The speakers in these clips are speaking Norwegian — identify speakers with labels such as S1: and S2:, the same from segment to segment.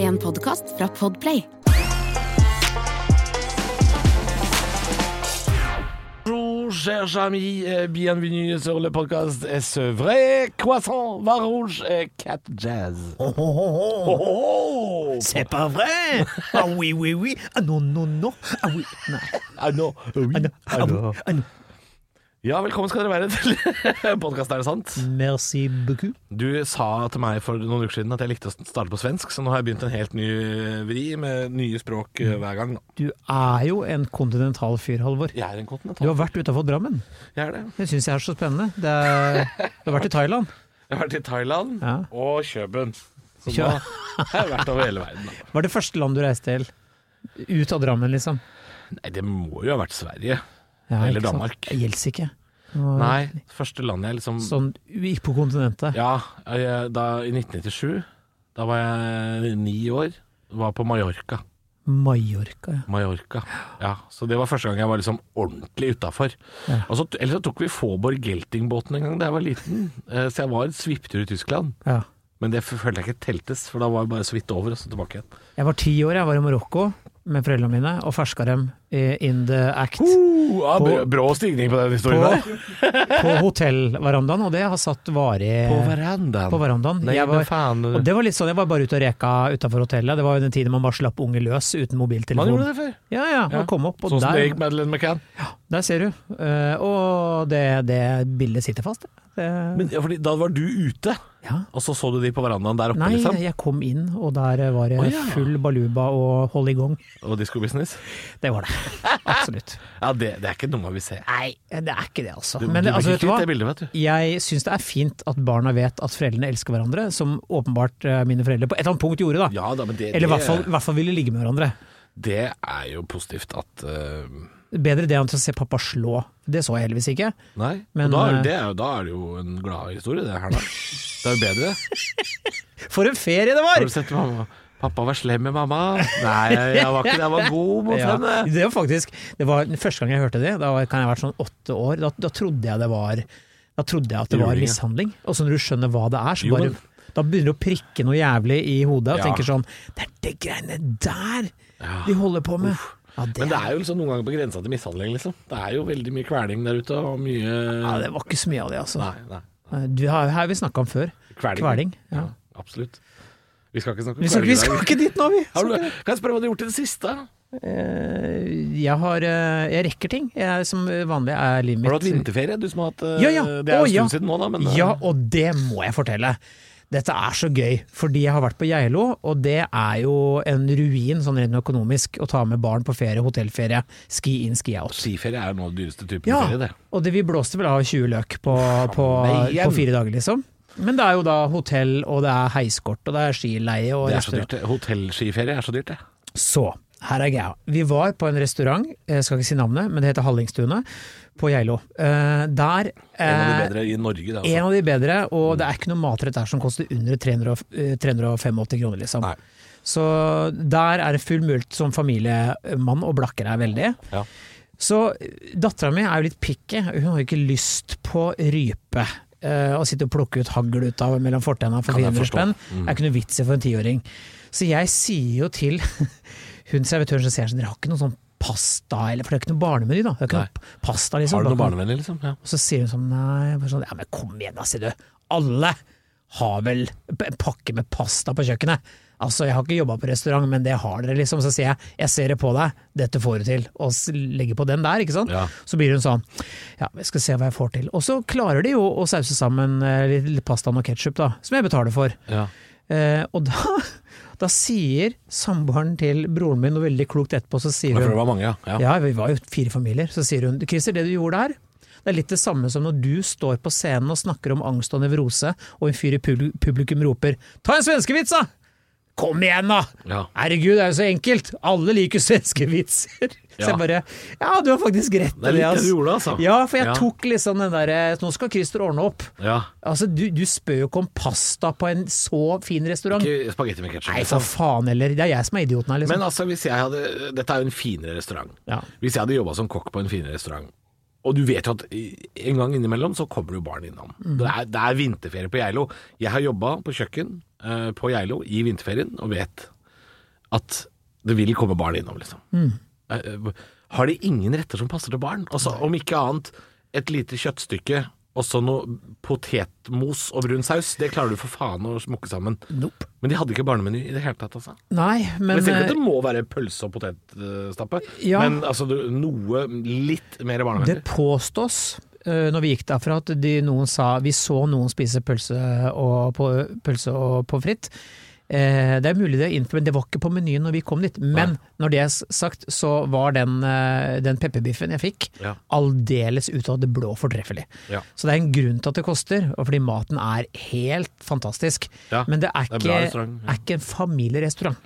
S1: en podkast fra Podplay.
S2: Bonjour, chers amis, eh, bienvenue sur le podcast eh, C'est vrai, croissant, vin rouge et cat jazz.
S3: Oh, oh, oh, oh.
S2: Oh
S3: C'est pas vrai Ah oui, oui, oui. Ah non, non, non. Ah oui, nei.
S2: Ah nå, eh, oui.
S3: Ah, non. Ah, oui. Ah, non.
S2: Ja, velkommen skal dere være til podkast, er det sant?
S3: Merci beaucoup.
S2: Du sa til meg for noen uker siden at jeg likte å starte på svensk, så nå har jeg begynt en helt ny vri med nye språk eh, hver gang. da.
S3: Du er jo en kontinental fyr, Halvor.
S2: Jeg er en
S3: Du
S2: kontinental.
S3: har vært utafor Drammen.
S2: Jeg er det.
S3: Det syns jeg er så spennende. Det er, du har vært i Thailand.
S2: Jeg har vært i Thailand
S3: Ja.
S2: og Kjøben. Så
S3: Kjø-
S2: da har jeg vært over hele verden. Da.
S3: Hva er det første land du reiste til? Ut av Drammen, liksom.
S2: Nei, det må jo ha vært Sverige.
S3: Ja,
S2: Eller
S3: ikke sant?
S2: Danmark.
S3: Det gjelder ikke. Det var
S2: Nei, første landet jeg liksom
S3: Sånn gikk på kontinentet.
S2: Ja, jeg, da, i 1997 Da var jeg ni år Var på Mallorca
S3: Mallorca, ja.
S2: Mallorca Ja, så det var første gang jeg var liksom ordentlig utenfor
S3: Ja.
S2: Og så, ellers så tok vi Fåborg Gelting-båten en gang da jeg var liten Eh, Så jeg var en svipptur i Tyskland
S3: ja.
S2: Men det følte jeg ikke teltes For da var jeg bare så vidt over og så tilbake igjen
S3: Jeg var ti år, jeg var i Marokko med foreldrene mine og ferska dem eh, in the act.
S2: ja,
S3: brå-
S2: Brå stigning på den
S3: på,
S2: historien der
S3: på hotellverandaen, og det har satt varig
S2: På verandaen
S3: på verandaen.
S2: Nei,
S3: Jeg
S2: men
S3: var,
S2: faen
S3: og det var litt sånn, jeg var bare ute og reka utafor hotellet. Det var jo den tiden man bare slapp unge løs uten
S2: Man
S3: mobiltelefon.
S2: gjorde det før
S3: Ja, ja, og kom opp, og
S2: Sånn som det
S3: der,
S2: gikk Madeleine McCann
S3: der ser du. Eh, og det, det bildet sitter fast. det. Det,
S2: Men ja, fordi da var du ute
S3: ja.
S2: Og så så du de på verandaen der oppe
S3: Nei,
S2: liksom
S3: jeg kom inn, og der var det
S2: Å, ja.
S3: full baluba og hold i gang.
S2: Og disco business
S3: Det var det. Absolutt.
S2: Ja, det, det er ikke noe man vil se.
S3: Nei, det er ikke det, altså.
S2: Du,
S3: Men
S2: du
S3: det, altså,
S2: blir
S3: vet du
S2: kvitt
S3: hva?
S2: det bildet, vet du.
S3: Jeg syns det er fint at barna vet at foreldrene elsker hverandre, som åpenbart eh, mine foreldre på et eller annet punkt gjorde, da.
S2: Ja, da, men det,
S3: Eller i hvert
S2: det-
S3: fall, i hvert fall ville ligge med hverandre.
S2: Det er jo positivt at eh,
S3: Bedre det enn til å se pappa slå. Det så jeg heldigvis ikke.
S2: Nei. Men,
S3: Men,
S2: da, er
S3: eh,
S2: det er jo, da er det jo en glad historie, det her da. Det er jo bedre.
S3: For en ferie det var!
S2: Har du sett mamma? Pappa var slem med mamma. Nei, jeg var ikke det. Jeg var god mot
S3: Ja,
S2: henne.
S3: det var faktisk det var den første gang jeg hørte det, da var- kan jeg ha vært sånn åtte år, da, da trodde jeg det var Da trodde jeg at det var
S2: Juling, ja.
S3: mishandling. Og så når du skjønner hva det er, så
S2: Jo,
S3: bare
S2: men-
S3: Da begynner du å prikke noe jævlig i hodet og
S2: Ja.
S3: tenker sånn Det er det greiene der de holder på med! Ja, det,
S2: Men det er jo liksom noen ganger på grensa til mishandling, liksom. Det er jo veldig mye kveling der ute, og mye
S3: ja, det var ikke så mye av det, altså.
S2: Nei, nei.
S3: Du har, her har vi snakka om før.
S2: Kveling.
S3: Kveling,
S2: Ja,
S3: ja.
S2: absolutt. Vi skal ikke snakke om
S3: Vi skal,
S2: kveling i
S3: vi
S2: dag.
S3: skal ikke dit nå, vi!
S2: Har du, kan jeg spørre hva du har gjort i det siste?
S3: Eh, jeg, har, eh, jeg rekker ting. Jeg, som vanlig er livet mitt
S2: Har du hatt vinterferie? Du som har hatt eh,
S3: Ja, ja.
S2: Det er jo
S3: Å,
S2: en stund
S3: ja.
S2: siden nå, da. Men, eh,
S3: Ja, og det må jeg fortelle. Dette er så gøy, fordi jeg har vært på Geilo, og det er jo en ruin sånn rent økonomisk å ta med barn på ferie, hotellferie, ski in, ski out.
S2: Skiferie er jo nå den dyreste typen
S3: Ja,
S2: ferie, det.
S3: og det, vi blåste vel av 20 løk på, på,
S2: Faen, igjen.
S3: på fire dager, liksom. Men det er jo da hotell, og det er heiskort, og det er skileie og
S2: Det er så
S3: restaurant.
S2: dyrt. det. Hotellskiferie er så dyrt, det.
S3: Så, her er greia. Vi var på en restaurant, jeg skal ikke si navnet, men det heter Hallingstuene, på Geilo. Eh, der
S2: En av de
S3: eh,
S2: bedre i Norge, det.
S3: En
S2: Altså.
S3: av de bedre, og det er ikke noe matrett der som koster under 300, og- eh, 385 kroner, liksom.
S2: Nei.
S3: Så der er det full mulighet som familiemann, og blakker er veldig.
S2: Ja.
S3: Så dattera mi er jo litt picky, hun har jo ikke lyst på rype. eh, Og sitte og plukke ut hagl ut av mellom fortenna for
S2: Kan jeg
S3: 400
S2: forstå. Mm.
S3: spenn. Det er ikke noe vits i for en tiåring. Så jeg sier jo til hun servitøren som ser sånn, dere har ikke noe sånn pasta, eller, for det er ikke noe barnemeny, da. Det er ikke
S2: Nei.
S3: noe pasta, liksom.
S2: Har du
S3: Bare
S2: noen
S3: kan-
S2: barnevenner, liksom? Ja.
S3: og så sier hun sånn, nei, bare sånn, ja, men kom igjen da, sier du. Alle har vel p- en pakke med pasta på kjøkkenet. Altså, jeg har ikke jobba på restaurant, men det har dere, liksom. Så sier jeg, jeg ser det på deg, dette får du til. Og s- legger på den der, ikke sant.
S2: Ja.
S3: Så blir hun sånn, ja, jeg skal se hva jeg får til. Og så klarer de jo å sause sammen eh, litt, litt pasta og ketsjup, da, som jeg betaler for.
S2: Ja.
S3: Eh, og da, da sier samboeren til broren min noe veldig klokt etterpå, så sier
S2: Men
S3: hun
S2: for det var mange, ja. ja.
S3: ja, vi var jo fire familier. Så sier hun Christer, det du gjorde der, det er litt det samme som når du står på scenen og snakker om angst og nevrose, og en fyr i pul- publikum roper 'ta en svenskevits', da! Kom igjen, da!
S2: Ja.
S3: Herregud, det er jo så enkelt! Alle liker svenskevitser! Så
S2: Ja.
S3: jeg bare Ja, du har faktisk rett
S2: Det er litt det du
S3: ass.
S2: gjorde, altså.
S3: Ja, for jeg
S2: Ja.
S3: tok liksom den derre Nå skal Christer ordne opp.
S2: Ja.
S3: Altså, du, du spør jo ikke om pasta på en så fin restaurant.
S2: Ikke spagetti med ketsjup.
S3: Nei, sånn- for faen heller. Det er jeg som er idioten her, liksom.
S2: Men altså, hvis jeg hadde Dette er jo en finere restaurant.
S3: Ja.
S2: Hvis jeg hadde jobba som kokk på en finere restaurant og du vet jo at i- en gang innimellom så kommer jo barn innom. Det, er, det er vinterferie på Geilo. Jeg har jobba på kjøkken eh, på Geilo i vinterferien og vet. at det vil komme barn innom, liksom. Eh, eh, Har de ingen retter som passer til barn? Altså, om ikke annet, et lite kjøttstykke og så noe potetmos og brun saus. Det klarer du for faen å smukke sammen.
S3: Nope.
S2: Men de hadde ikke barnemeny i det hele tatt, altså.
S3: Nei, men
S2: Men jeg ser ikke at det må være pølse og potetstappe,
S3: Ja.
S2: men altså, du, noe litt mer barnevennlig.
S3: Det påstås eh, når vi gikk derfra at de, noen sa vi så noen spise pølse og, på, pølse og pommes frites. Eh, det er mulig det er innført, men det var ikke på menyen når vi kom dit. Men når det er s- sagt, så var den, eh, den pepperbiffen jeg fikk
S2: Ja.
S3: aldeles ut av det blå fortreffelig.
S2: Ja.
S3: Så det er en grunn til at det koster, og fordi maten er helt fantastisk.
S2: Ja,
S3: men det
S2: det
S3: er
S2: er
S3: ikke,
S2: bra restaurant, ja.
S3: er ikke en familierestaurant.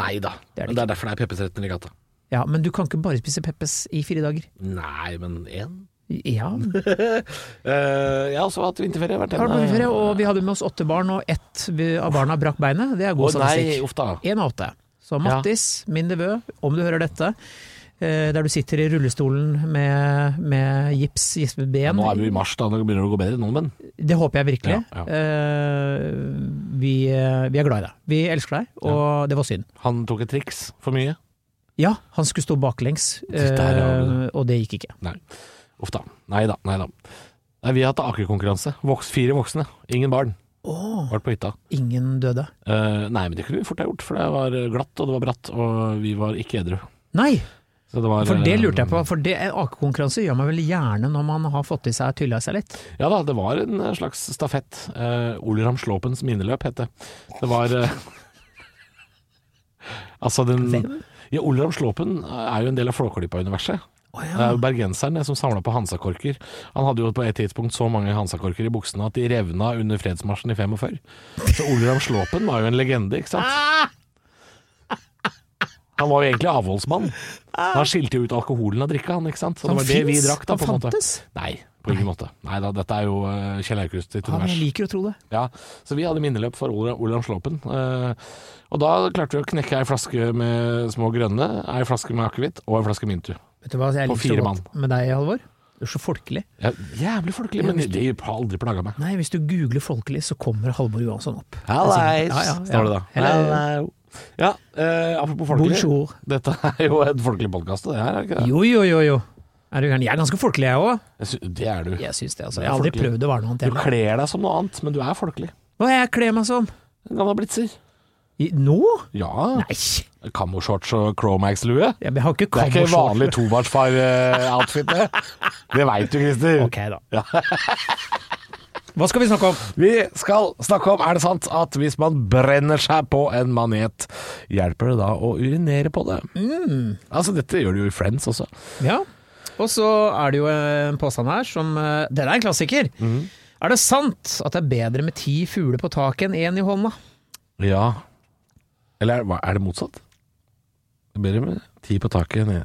S2: Nei da.
S3: Det er det
S2: Men det er derfor det er peppersretten i gata.
S3: Ja, men du kan ikke bare spise Peppes i fire dager.
S2: Nei, men én?
S3: Ja,
S2: Eh, jeg har også hatt vinterferie. Vært eh,
S3: Har
S2: hjemme.
S3: vært på ferie, og vi hadde med oss åtte barn, og ett av barna brakk beinet. Det er
S2: Å
S3: god
S2: nei,
S3: statistikk.
S2: uff da.
S3: Én av åtte. Så Mattis, min nevø, om du hører dette, eh, der du sitter i rullestolen med, med gips, gispet ben
S2: Nå er vi i mars, da. Nå begynner det å gå bedre. Noen menn.
S3: Det håper jeg virkelig.
S2: Ja, ja.
S3: Eh, vi, eh, vi er glad i deg. Vi elsker deg, og det var synd.
S2: Han tok et triks for mye.
S3: Ja, han skulle stå baklengs,
S2: Der har du
S3: eh, og det gikk ikke.
S2: Nei. Uff da. Nei da, nei da. Nei, vi har hatt akekonkurranse. Voks, fire voksne, ingen barn.
S3: Åh,
S2: Vært på hytta.
S3: ingen døde.
S2: Eh, nei, men det kunne vi fort ha gjort, for det var glatt og det var bratt, og vi var ikke edru.
S3: Nei,
S2: Så det var,
S3: for det
S2: eh,
S3: lurte jeg på. For det- en akekonkurranse gjør man vel gjerne når man har fått i seg tylla seg litt.
S2: Ja da, det var en eh, slags stafett. Eh, Ole Ramslåpens minneløp het det. Det var eh, Altså den
S3: Hvem?
S2: Ja, Ole Ramslåpen er jo en del av Flåklypa-universet.
S3: Å
S2: Det er jo bergenserne som samla på Hansakorker. Han hadde jo på et tidspunkt så mange Hansakorker i buksene at de revna under fredsmarsjen i 45. Så Ole Ramslåpen var jo en legende, ikke sant?
S3: Ah!
S2: Han var jo egentlig avholdsmann. Men Han skilte jo ut alkoholen av drikka, han, ikke sant? Så det
S3: Ah. Han
S2: var det vi
S3: finnes?
S2: drakk, da,
S3: Han
S2: på en måte.
S3: fantes?
S2: Nei, på ingen måte. Nei da, dette er jo eh, Kjell Aukrust sitt
S3: Ja, men
S2: univers.
S3: jeg liker å tro det.
S2: Ja, så vi hadde minneløp for Ola- Olav Slåpen. eh, Og da klarte vi å knekke ei flaske med små grønne, ei flaske med akevitt og ei flaske mintu.
S3: Vet du hva jeg
S2: På
S3: liker
S2: fire
S3: så godt med deg, Halvor? Du er så folkelig.
S2: Ja, jævlig folkelig, men de har aldri plaga meg.
S3: Nei, hvis du googler folkelig, så kommer Halvor Johansson opp.
S2: Hallais,
S3: Ja, ja, ja.
S2: står det da.
S3: Hello.
S2: Ja, eh, apropos folkelig.
S3: Bonjour.
S2: Dette er jo en folkelig podkast, det her, er det ikke det?
S3: Jo, jo, jo, jo. Er du gæren? Jeg er ganske folkelig, jeg òg.
S2: Jeg sy- Det er du.
S3: Jeg syns det, altså.
S2: Du er
S3: Jeg har aldri
S2: folkelig.
S3: prøvd å være noe annet.
S2: Du
S3: jeg.
S2: kler deg som noe annet, men du er folkelig.
S3: Hva er jeg kler meg som?
S2: En gammel blitzer.
S3: I, nå?
S2: Ja.
S3: Nei!
S2: Kamoshorts og Cromax-lue.
S3: Jeg har ikke
S2: Det er ikke vanlig
S3: kammershorts.
S2: tobarnsfar-outfit, det. Det veit du, Christer.
S3: Ok, da. Hva skal vi snakke om?
S2: Vi skal snakke om er det sant at hvis man brenner seg på en manet, hjelper det da å urinere på det?
S3: Mm.
S2: Altså, dette gjør du jo i Friends også.
S3: Ja. Og så er det jo en påstand her som eh, Den er en klassiker. Er det sant at det er bedre med ti fugler på taket enn én i hånda?
S2: Ja. Eller er, hva- er det motsatt? Det er bedre med ti på taket enn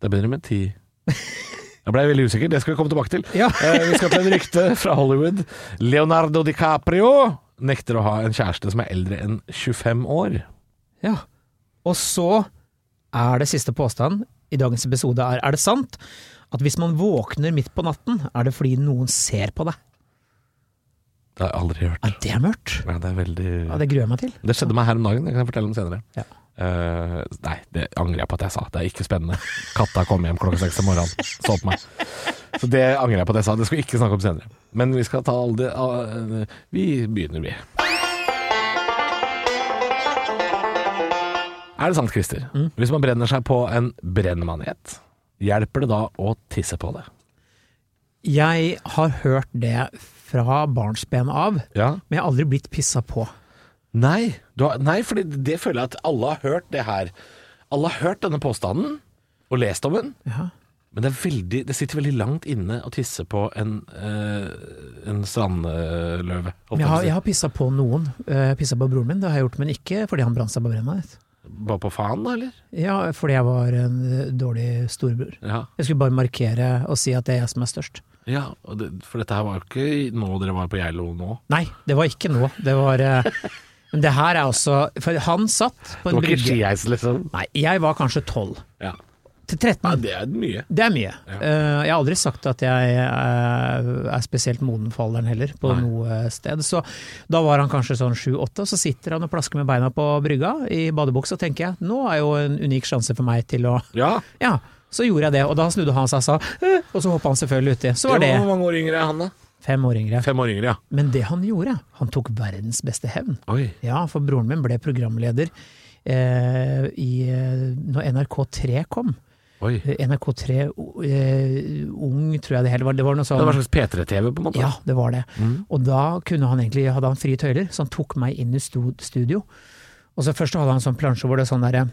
S2: Det er bedre med ti Jeg blei veldig usikker, det skal vi komme tilbake til.
S3: Ja.
S2: Eh, vi skal til en rykte fra Hollywood. Leonardo DiCaprio nekter å ha en kjæreste som er eldre enn 25 år.
S3: Ja. Og så er det siste påstand i dagens episode er Er det sant at hvis man våkner midt på natten, er det fordi noen ser på deg?
S2: Det har jeg aldri hørt.
S3: Ja, det er mørkt.
S2: Nei, det er veldig
S3: Ja, det gruer jeg meg til.
S2: Det skjedde meg her om dagen, det kan jeg fortelle om senere.
S3: Ja.
S2: Eh, nei, det angrer jeg på at jeg sa. Det er ikke spennende. Katta kom hjem klokka seks om morgenen, så på meg. Så det angrer jeg på at jeg sa. Det skal vi ikke snakke om senere. Men vi skal ta alle de ah, eh, Vi begynner, vi. Er det sant, Christer? Hvis man brenner seg på en brennmanet, hjelper det da å tisse på det?
S3: Jeg har hørt det fra barnsben av,
S2: Ja.
S3: men jeg har aldri blitt pissa på.
S2: Nei, du har, nei, fordi det føler jeg at alle har hørt det her. Alle har hørt denne påstanden og lest om den.
S3: Ja.
S2: Men det, er veldig, det sitter veldig langt inne å tisse på en, eh, en strandløve. holdt
S3: Men jeg har,
S2: jeg på å
S3: jeg har pissa på noen. Eh, Pissa på broren min, det har jeg gjort, men ikke fordi han brant seg på brenna.
S2: si. Bare på faen, da, eller?
S3: Ja, fordi jeg var en eh, dårlig storebror.
S2: Ja.
S3: Jeg skulle bare markere og si at det er jeg som er størst.
S2: ja og det, for dette her var jo ikke nå dere var på Geilo nå.
S3: Nei, det var ikke nå. Det var eh, Men det her er også For han satt på
S2: Det
S3: en
S2: var ikke
S3: brygge.
S2: skieis, liksom.
S3: Nei, jeg var kanskje tolv.
S2: Ja.
S3: Til 13.
S2: Nei, det er mye.
S3: Det er mye. Eh, jeg har aldri sagt at jeg eh, er spesielt moden for alderen heller, på
S2: Nei.
S3: noe sted. Så da var han kanskje sånn sju-åtte, og så sitter han og plasker med beina på brygga i badebuksa, og tenker jeg nå er jo en unik sjanse for meg til å
S2: Ja.
S3: Ja, så gjorde jeg det, og da snudde han seg og sa «Øh», og så hoppa han selvfølgelig uti. Så var det
S2: Hvor mange år yngre er han, da?
S3: fem år yngre.
S2: Fem år yngre, ja.
S3: Men det han gjorde, han tok verdens beste hevn.
S2: Oi.
S3: Ja, for broren min ble programleder eh, i, eh, når NRK3 kom.
S2: Oi.
S3: Eh, NRK3 o- eh, Ung, tror jeg det hele var. Det var noe
S2: Det var en
S3: sånn
S2: slags P3-TV, på en måte. Mm.
S3: ja, det var det. Og da kunne han egentlig, hadde han frie tøyler, så han tok meg inn i sto- studio. Og så Først så hadde han en sånn plansje hvor det er sånn derre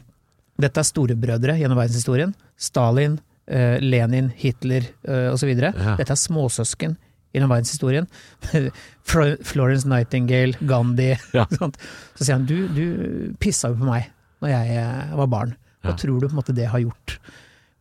S3: Dette er storebrødre gjennom verdenshistorien. Stalin, eh, Lenin, Hitler eh, osv.
S2: Ja.
S3: Dette er småsøsken gjennom verdenshistorien. Flo- Florence Nightingale, Gandhi
S2: Ja.
S3: sånt. Så sier han du, du pissa jo på meg når jeg eh, var barn. Hva
S2: Ja.
S3: tror du på en måte det har gjort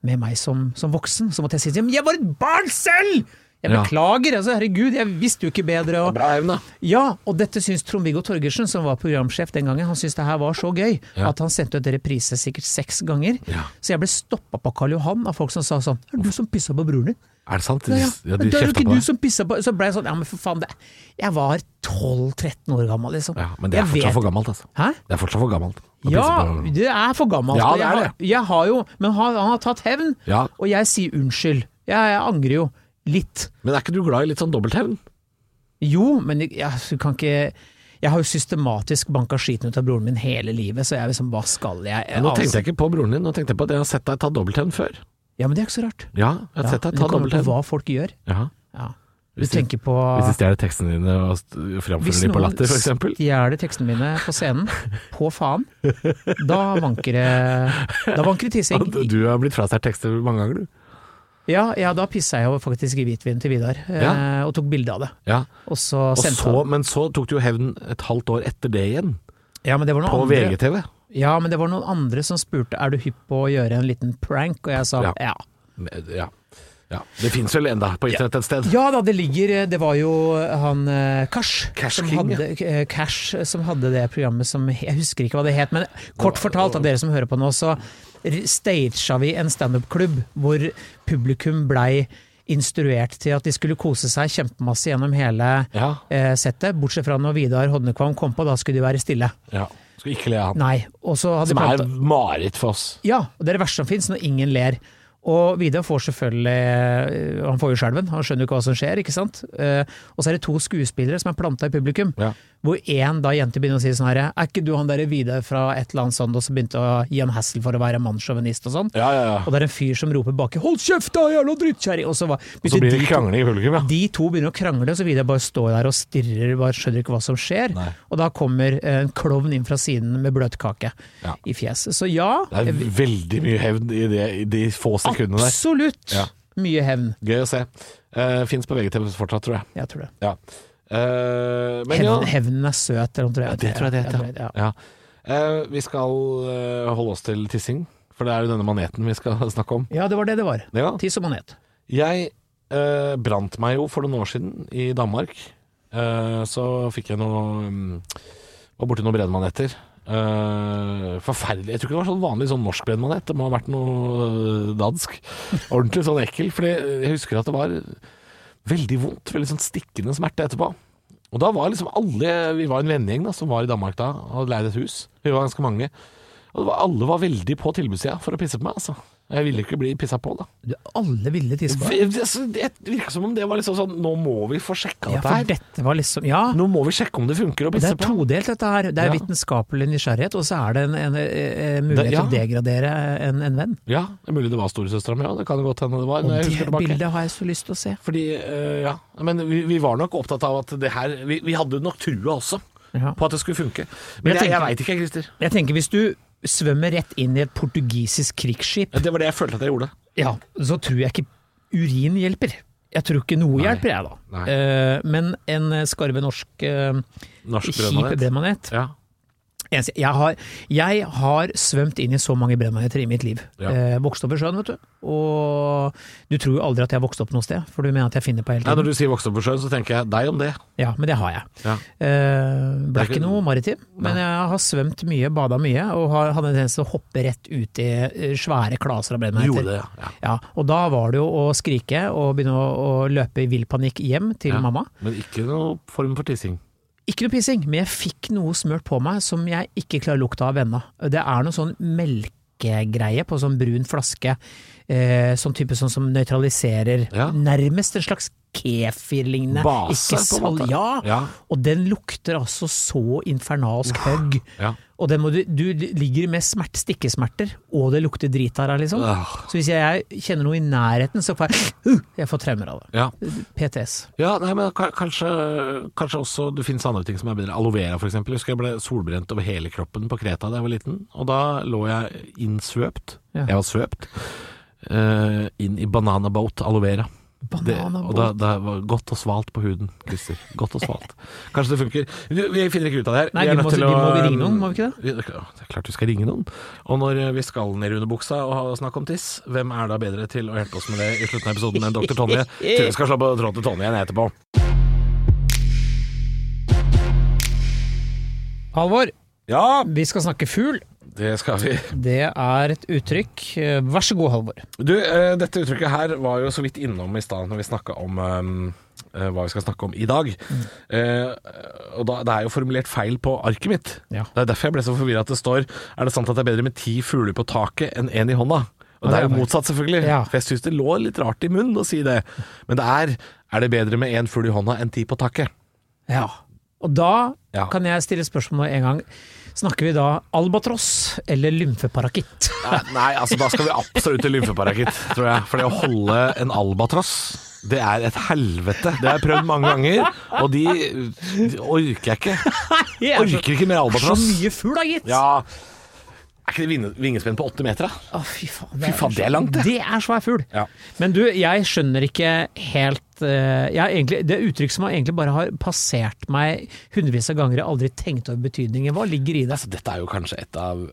S3: med meg som, som voksen? Så måtte jeg si til ham jeg var et barn selv! Jeg
S2: Ja.
S3: beklager, altså, herregud, jeg visste jo ikke bedre. Og,
S2: Bra hevn, da.
S3: ja, og dette syns Trond-Viggo Torgersen, som var programsjef den gangen, han syntes det her var så gøy
S2: Ja.
S3: at han sendte ut reprise sikkert seks ganger.
S2: Ja.
S3: Så jeg ble stoppa på Karl Johan av folk som sa sånn Er det du som pissa på broren din?
S2: Er det sant?
S3: Ja,
S2: De,
S3: ja.
S2: ja, de
S3: men det er jo
S2: kjefta
S3: ikke
S2: på
S3: du
S2: deg.
S3: som pissa på Så ble jeg sånn Ja, men for faen, det Jeg var 12-13 år gammel, liksom.
S2: Ja, men det er
S3: Jeg
S2: fortsatt
S3: vet-
S2: for gammelt, altså.
S3: Hæ?
S2: Det er fortsatt for gammelt. å
S3: Ja,
S2: pisse på-
S3: det er for gammelt.
S2: Ja,
S3: og
S2: det
S3: jeg
S2: er
S3: har- Jeg har jo Men han, han har tatt hevn,
S2: Ja.
S3: og jeg sier unnskyld. Jeg, jeg angrer jo. Litt.
S2: Men er ikke du glad i litt sånn dobbelthevn?
S3: Jo, men jeg, jeg du kan ikke jeg har jo systematisk banka skiten ut av broren min hele livet, så jeg er liksom, hva skal jeg?
S2: Ja, nå
S3: Altså-
S2: tenkte jeg ikke på broren din, nå tenkte jeg på at jeg har sett deg ta dobbelthevn før.
S3: ja, men det er ikke så rart.
S2: Ja, jeg har
S3: Ja,
S2: sett
S3: det
S2: deg ta
S3: kommer an på
S2: dobbelthevn.
S3: hva folk gjør.
S2: Ja.
S3: Ja. Du
S2: Hvis de-
S3: tenker på
S2: Hvis de stjeler tekstene dine og st- framfører dem på latter, f.eks.
S3: stjeler tekstene mine på scenen, på faen, da vanker det Da vanker det tissing.
S2: Du har blitt frastjålet tekster mange ganger, du.
S3: Ja, ja, da pissa jeg jo faktisk i hvitvin til Vidar, eh,
S2: Ja.
S3: og tok bilde av det.
S2: Ja.
S3: Og så
S2: Og
S3: sendte
S2: så,
S3: han
S2: men så tok du jo hevn et halvt år etter det igjen,
S3: ja men, det var
S2: på
S3: noen andre,
S2: VGTV.
S3: ja, men det var noen andre som spurte er du hypp på å gjøre en liten prank, og jeg sa
S2: Ja.
S3: ja.
S2: Ja. ja. Det fins vel enda på internett et sted?
S3: Ja da, det ligger eh, Det var jo han eh, Cash,
S2: Cash
S3: som,
S2: King, ja.
S3: hadde, eh, Cash som hadde det programmet som Jeg husker ikke hva det het, men kort fortalt, av dere som hører på nå, så r- stagea vi en standup-klubb hvor publikum blei instruert til at de skulle kose seg kjempemasse gjennom hele
S2: Ja.
S3: eh, settet, bortsett fra når Vidar Hodnekvam kom på, da skulle de være stille.
S2: ja. Skal ikke le av han.
S3: Nei, og så hadde
S2: Som
S3: de
S2: er
S3: prata-
S2: mareritt for oss.
S3: Ja, og det er det verste som fins, når ingen ler. Og Vidar får selvfølgelig eh, Han får jo skjelven, han skjønner jo ikke hva som skjer, ikke sant. Eh, Og så er det to skuespillere som er planta i publikum,
S2: Ja.
S3: hvor én da jente begynner å si sånn her Er ikke du han derre Vidar fra et eller annet sånt, og så begynte å gi han hassel for å være mannssjåvinist og sånn?
S2: Ja, ja, ja.
S3: Og det er en fyr som roper baki 'hold kjeft, da, jævla drittkjerring', og så var-
S2: Og så
S3: begynte
S2: blir
S3: de
S2: det
S3: to
S2: krangling i publikum, ja.
S3: de to begynner å krangle, så Vidar bare står der og stirrer, bare skjønner ikke hva som skjer.
S2: Nei.
S3: Og da kommer eh, en klovn inn fra siden med bløtkake
S2: Ja.
S3: i fjeset. Så ja,
S2: Det er veldig mye hevn i, det, i de få sekundene der.
S3: absolutt
S2: Ja.
S3: mye hevn.
S2: Gøy å se. Uh, Fins på VGTV fortsatt, tror jeg.
S3: Jeg tror det.
S2: Ja. Eh, men ja,
S3: Hevn, hevnen er søt, eller noe tror jeg.
S2: det tror jeg det
S3: Jeg
S2: heter.
S3: tror
S2: Ja. Eh, vi skal eh, holde oss til tissing, for det er jo denne maneten vi skal snakke om.
S3: Ja, det var det det var.
S2: Ja.
S3: Tiss og manet.
S2: Jeg eh, brant meg jo for noen år siden i Danmark. Eh, så fikk jeg noe mm, Var borti noen brennmaneter. Eh, forferdelig. Jeg tror ikke det var sånn vanlig sånn norsk brennmanet. Det må ha vært noe eh, dansk. Ordentlig sånn ekkel. For jeg husker at det var veldig vondt. Veldig sånn stikkende smerte etterpå. Og da var liksom alle Vi var en vennegjeng da, som var i Danmark da, og hadde leid et hus. Vi var ganske mange. Og det var, alle var veldig på tilbudssida for å pisse på meg, altså. Jeg ville ikke bli pissa på, da.
S3: Du, alle ville tisse på deg.
S2: Det, altså, det virka som om det var liksom sånn Nå må vi få sjekka
S3: Ja,
S2: dette
S3: for
S2: her.
S3: dette var liksom Ja.
S2: Nå må vi sjekke om det funker å
S3: Det
S2: pisse
S3: er
S2: på.
S3: todelt dette her. Det er
S2: Ja.
S3: vitenskapelig nysgjerrighet, og så er det en, en, eh, eh,
S2: Det-
S3: mulighet til
S2: ja.
S3: å degradere en, en venn.
S2: Ja, det er mulig det var storesøstera mi òg. Det kan det godt hende det var.
S3: Og
S2: når jeg
S3: det
S2: husker tilbake.
S3: bildet har jeg så lyst til å se.
S2: Fordi, eh, ja. Men vi, vi var nok opptatt av at det her Vi, vi hadde nok trua også
S3: Ja.
S2: på at det skulle funke.
S3: Men
S2: Men jeg, jeg
S3: jeg tenker-
S2: veit ikke, Christer.
S3: Jeg tenker hvis du svømmer rett inn i et portugisisk krigsskip,
S2: Det var det jeg følte at jeg gjorde.
S3: ja, så tror jeg ikke urin hjelper. Jeg tror ikke noe
S2: Nei.
S3: hjelper, jeg da.
S2: Nei.
S3: Eh, men en skarve norsk eh,
S2: Norsk
S3: kjip
S2: brødmanet.
S3: brennmanet
S2: Ja.
S3: Eneste- Jeg har, jeg har svømt inn i så mange brennmaneter i mitt liv.
S2: Ja.
S3: Eh, vokst opp i sjøen, vet du. Og du tror jo aldri at jeg har vokst opp noe sted, for du mener at jeg finner på
S2: Nei,
S3: hele tiden.
S2: når du sier vokst opp på sjøen, så tenker jeg deg om det.
S3: Ja, men det har jeg.
S2: Ja.
S3: Eh, ble
S2: Det er
S3: ikke
S2: ikke-
S3: noe maritim, men jeg har svømt mye, bada mye, og har, hadde en tendens til å hoppe rett ut i eh, svære klaser av
S2: Du
S3: brennmaneter.
S2: gjorde det, ja.
S3: Ja, og da var det jo å skrike og begynne å, å løpe i vill panikk hjem til
S2: Ja.
S3: mamma.
S2: Men ikke noe form for tissing.
S3: Ikke noe pissing, men jeg fikk noe smørt på meg som jeg ikke klarer lukta av ennå. Det er noe sånn melkegreie på sånn brun flaske, eh, sånn type sånn som nøytraliserer
S2: Ja.
S3: nærmest en slags kefirlignende
S2: Base,
S3: ikke
S2: på en måte.
S3: sal- Ja.
S2: Ja.
S3: og den lukter altså så infernalsk høgg.
S2: Ja.
S3: Og den må du, du ligger med smert, stikkesmerter, og det lukter drit av deg, liksom.
S2: Ah.
S3: Så hvis jeg kjenner noe i nærheten, så får jeg uh, Jeg får traumer av det.
S2: Ja.
S3: PTS.
S2: ja, nei, men ka- kanskje, kanskje også det finnes andre ting som er bedre. Aloe vera, f.eks. Husker jeg ble solbrent over hele kroppen på Kreta da jeg var liten. Og da lå jeg innsvøpt.
S3: Ja.
S2: Jeg var svøpt. eh, inn i bananaboat aloe vera. Det, og da,
S3: Bananabåt.
S2: da var godt og svalt på huden, Christer. Godt og svalt. Kanskje det funker. Vi, vi finner ikke ut av det her.
S3: Nei,
S2: er
S3: vi må-
S2: nødt til
S3: vi må
S2: å-
S3: ringe noen, må vi ikke
S2: Vi- Det er klart vi skal ringe noen. Og når eh, vi skal ned under buksa og ha- snakke om tiss, hvem er da bedre til å hjelpe oss med det i slutten av episoden enn dr. Tonje? Tror vi skal slå på tråden til Tonje igjen etterpå.
S3: Halvor,
S2: Ja,
S3: vi skal snakke fugl.
S2: det skal vi.
S3: Det er et uttrykk. Eh, Vær så god, Halvor.
S2: Du, eh, dette uttrykket her var jo så vidt innom i stad når vi snakka om eh, eh, hva vi skal snakke om i dag. Eh, og da, det er jo formulert feil på arket mitt.
S3: Ja.
S2: Det er derfor jeg ble så forvirra at det står Er det sant at det er bedre med ti fugler på taket enn én i hånda? Og
S3: Ja,
S2: det er
S3: det er
S2: jo
S3: det.
S2: motsatt, selvfølgelig.
S3: Ja.
S2: For jeg syns det lå litt rart i munnen å si det. Men det er Er det bedre med én fugl i hånda enn ti på taket?
S3: Ja. Og da
S2: Ja.
S3: kan jeg stille spørsmål med en gang. Snakker vi da albatross eller lymfeparakitt?
S2: Nei, altså da skal vi absolutt til lymfeparakitt, tror jeg. For det å holde en albatross, det er et helvete. Det har jeg prøvd mange ganger, og de, de orker jeg ikke. Orker ikke mer
S3: Så
S2: albatross.
S3: mye fugl, da, gitt!
S2: Ja Er ikke det vinge- vingespenn på åtte meter, da?
S3: Å, fy faen,
S2: Fy faen, det er langt, det.
S3: Det er svær fugl.
S2: Ja.
S3: Men du, jeg skjønner ikke helt eh, jeg har egentlig, Det er uttrykk som har egentlig bare har passert meg hundrevis av ganger. Jeg har aldri tenkt over betydningen. Hva ligger i det?
S2: Altså, dette er jo kanskje et av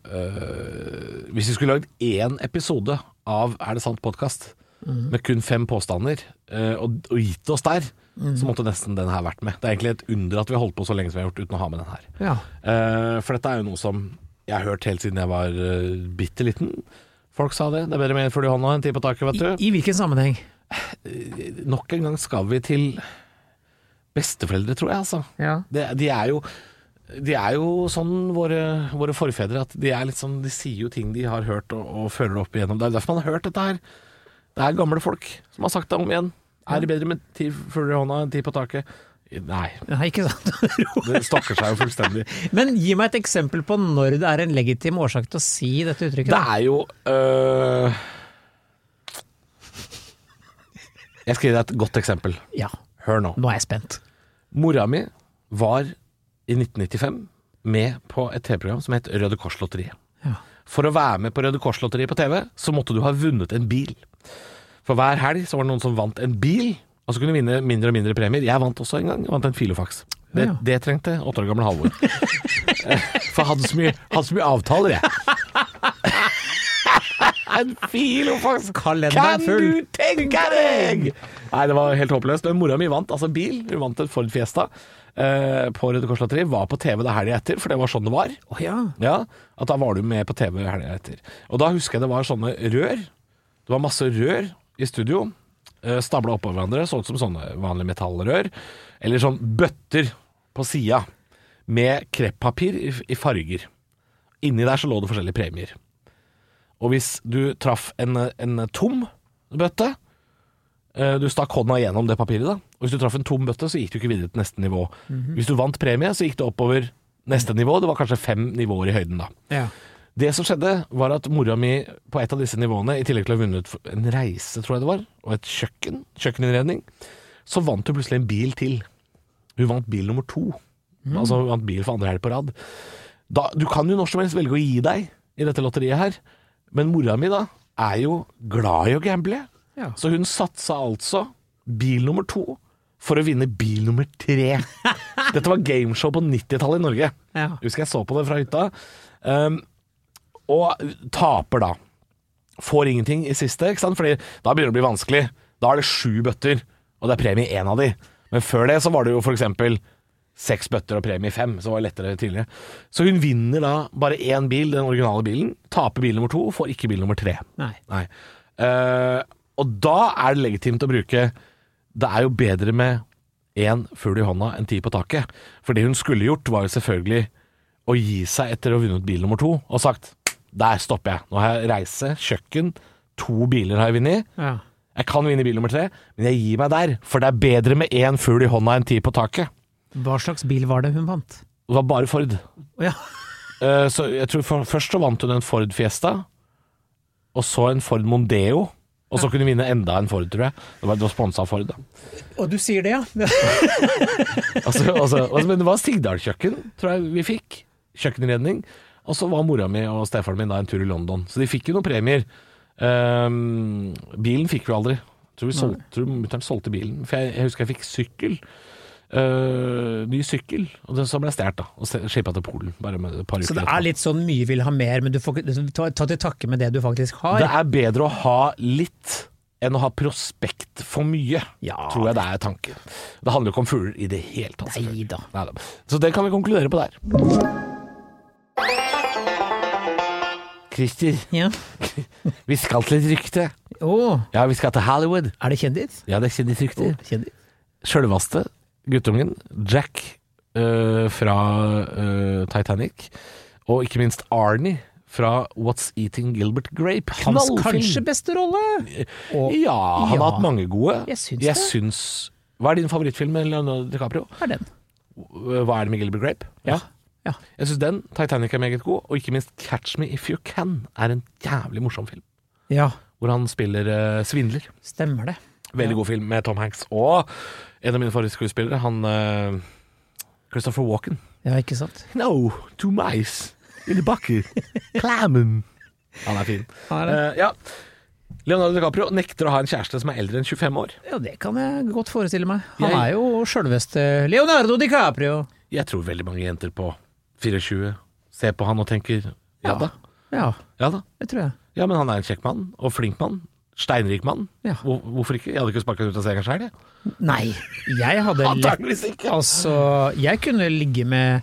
S2: øh, Hvis vi skulle lagd én episode av Er det sant?-podkast
S3: Mhm.
S2: med kun fem påstander, øh, og, og gitt oss der,
S3: Mhm.
S2: så måtte nesten den her vært med. Det er egentlig et under at vi har holdt på så lenge som vi har gjort uten å ha med den her.
S3: Ja.
S2: Eh, for dette er jo noe som jeg har hørt helt siden jeg var uh, bitte liten. Folk sa det. Det er bedre med en fugl i hånda enn ti på taket,
S3: I,
S2: vet du.
S3: I hvilken sammenheng?
S2: Nok en gang skal vi til besteforeldre, tror jeg, altså.
S3: Ja.
S2: Det, de er jo de er jo sånn, våre, våre forfedre, at de, er litt sånn, de sier jo ting de har hørt og, og føler opp igjennom. Det er derfor man har hørt dette her. Det er gamle folk som har sagt det om igjen. Er det bedre med ti fugler i hånda enn ti på taket? Nei.
S3: Nei, ikke sant?
S2: Det stakker seg jo fullstendig.
S3: Men gi meg et eksempel på når det er en legitim årsak til å si dette uttrykket.
S2: Det er jo øh... Jeg skal gi deg et godt eksempel.
S3: Ja,
S2: Hør nå.
S3: nå er jeg spent.
S2: Mora mi var i 1995 med på et TV-program som het Røde Kors-lotteriet.
S3: Ja.
S2: For å være med på Røde Kors-lotteriet på TV, så måtte du ha vunnet en bil. For hver helg så var det noen som vant en bil, og så kunne du vinne mindre og mindre premier. Jeg vant også en gang, jeg vant en Filofax. Det,
S3: Ja, ja.
S2: det trengte åtte år gamle Halvor. For jeg hadde så mye, hadde så mye avtaler, jeg. en Filofax!
S3: Kalenderen full.
S2: Kan du tenke deg?! Nei, det var helt håpløst. Men mora mi vant altså bil. Hun vant et Ford Fiesta eh, på Røde Kors Lotteri. Var på TV det helga etter, for det var sånn det var.
S3: Å ja.
S2: Ja, at da var du med på TV helga etter. Og da husker jeg det var sånne rør. Det var masse rør i studio. Eh, Stabla oppå hverandre, så ut som sånne vanlige metallrør. Eller sånn bøtter på sida med kreppapir i, i farger. Inni der så lå det forskjellige premier. Og hvis du traff en, en tom bøtte eh, Du stakk hånda gjennom det papiret, da. Og hvis du traff en tom bøtte, så gikk du ikke videre til neste nivå. Hvis du vant premie, så gikk det oppover neste nivå. Det var kanskje fem nivåer i høyden, da.
S3: ja.
S2: Det som skjedde, var at mora mi på et av disse nivåene, i tillegg til å ha vunnet en reise, tror jeg det var, og et kjøkken, kjøkkeninnredning, så vant hun plutselig en bil til. Hun vant bil nummer to. Altså hun vant bil for andre helg på rad. Da, du kan jo når som helst velge å gi deg i dette lotteriet her, men mora mi da er jo glad i å gamble.
S3: Ja.
S2: Så hun satsa altså bil nummer to for å vinne bil nummer tre. Dette var gameshow på 90-tallet i Norge.
S3: Ja.
S2: Husker jeg så på det fra hytta. Um, og taper da. Får ingenting i siste, ikke sant? Fordi da begynner det å bli vanskelig. Da er det sju bøtter, og det er premie i én av de. Men før det så var det jo for eksempel seks bøtter og premie i fem, som var lettere tidligere. Så hun vinner da bare én bil, den originale bilen. Taper bil nummer to, får ikke bil nummer tre.
S3: Nei.
S2: Nei. Eh, og da er det legitimt å bruke Det er jo bedre med én fugl i hånda enn ti på taket. For det hun skulle gjort, var jo selvfølgelig å gi seg etter å ha vunnet bil nummer to og sagt Der stopper jeg. Nå har jeg reise, kjøkken, to biler har jeg vunnet.
S3: Ja.
S2: Jeg kan vinne bil nummer tre, men jeg gir meg der. For det er bedre med én fugl i hånda enn ti på taket.
S3: Hva slags bil var det hun vant?
S2: Det var bare Ford.
S3: Å Ja.
S2: Eh, så jeg tror for, først så vant hun en Ford Fiesta, og så en Ford Mondeo. Og så kunne hun vinne enda en Ford, tror jeg. Det var, det var sponsa av Ford, da.
S3: Og du sier det, ja?
S2: Altså, altså, altså, men det var Sigdal-kjøkken, tror jeg vi fikk. Kjøkkenredning. Og så var mora mi og stefaren min da en tur i London. Så de fikk jo noen premier. Ehm, bilen fikk vi aldri. Jeg tror, vi solgte- tror mutter'n solgte bilen. For jeg, jeg husker jeg fikk sykkel. Eh, ny sykkel. Og den så ble stjålet, da. Og skipa til Polen. Bare med et par uker
S3: Så det
S2: etterpå.
S3: er litt sånn mye vil ha mer, men du får ikke liksom, ta, ta til takke med det du faktisk har.
S2: Det er bedre å ha litt enn å ha prospekt for mye,
S3: Ja.
S2: tror jeg det er tanken. Det handler jo ikke om fugler i det hele tatt. selvfølgelig.
S3: Nei da.
S2: Neida. Så det kan vi konkludere på der. Christer,
S3: Ja.
S2: vi skal til et rykte.
S3: Å,
S2: Ja, vi skal til Hollywood.
S3: er det kjendis?
S2: Ja, det er kjendisrykter.
S3: Kjendis?
S2: Sjølvaste guttungen, Jack øh, fra øh, Titanic, og ikke minst Arnie fra What's Eating Gilbert Grape.
S3: Hans
S2: Knallfilm.
S3: kanskje beste rolle? Og
S2: Ja, han
S3: Ja.
S2: har hatt mange gode.
S3: Jeg syns det.
S2: syns- Hva er din favorittfilm med Leonardo DiCaprio? Øh,
S3: er den.
S2: Hva er det med Gilbert Grape? Ja.
S3: Ja.
S2: Jeg syns den, Titanic, er meget god, og ikke minst Catch Me If You Can er en jævlig morsom film.
S3: ja,
S2: Hvor han spiller eh, svindler.
S3: stemmer det.
S2: Veldig god film med Tom Hanks og en av mine forrige skuespillere, han eh, Christopher Walken.
S3: Ja, ikke sant?
S2: No, two mice in the bucket. Clammen. Han er fin.
S3: Han er det.
S2: Eh, ja. Leonardo DiCaprio nekter å ha en kjæreste som er eldre enn 25 år.
S3: Ja, det kan jeg godt forestille meg. Han
S2: Jeg-
S3: er jo sjølveste Leonardo DiCaprio.
S2: Jeg tror veldig mange jenter på 24 ser på han og tenker ja da,
S3: Ja,
S2: ja da.
S3: det tror jeg.
S2: Ja, men han er en kjekk mann, og flink mann. Steinrik mann.
S3: Ja.
S2: Hvor- Hvorfor ikke? Jeg hadde ikke sparka ut av senga sjøl, jeg.
S3: Nei, jeg hadde lett
S2: Antakeligvis ikke.
S3: Altså, jeg kunne ligge med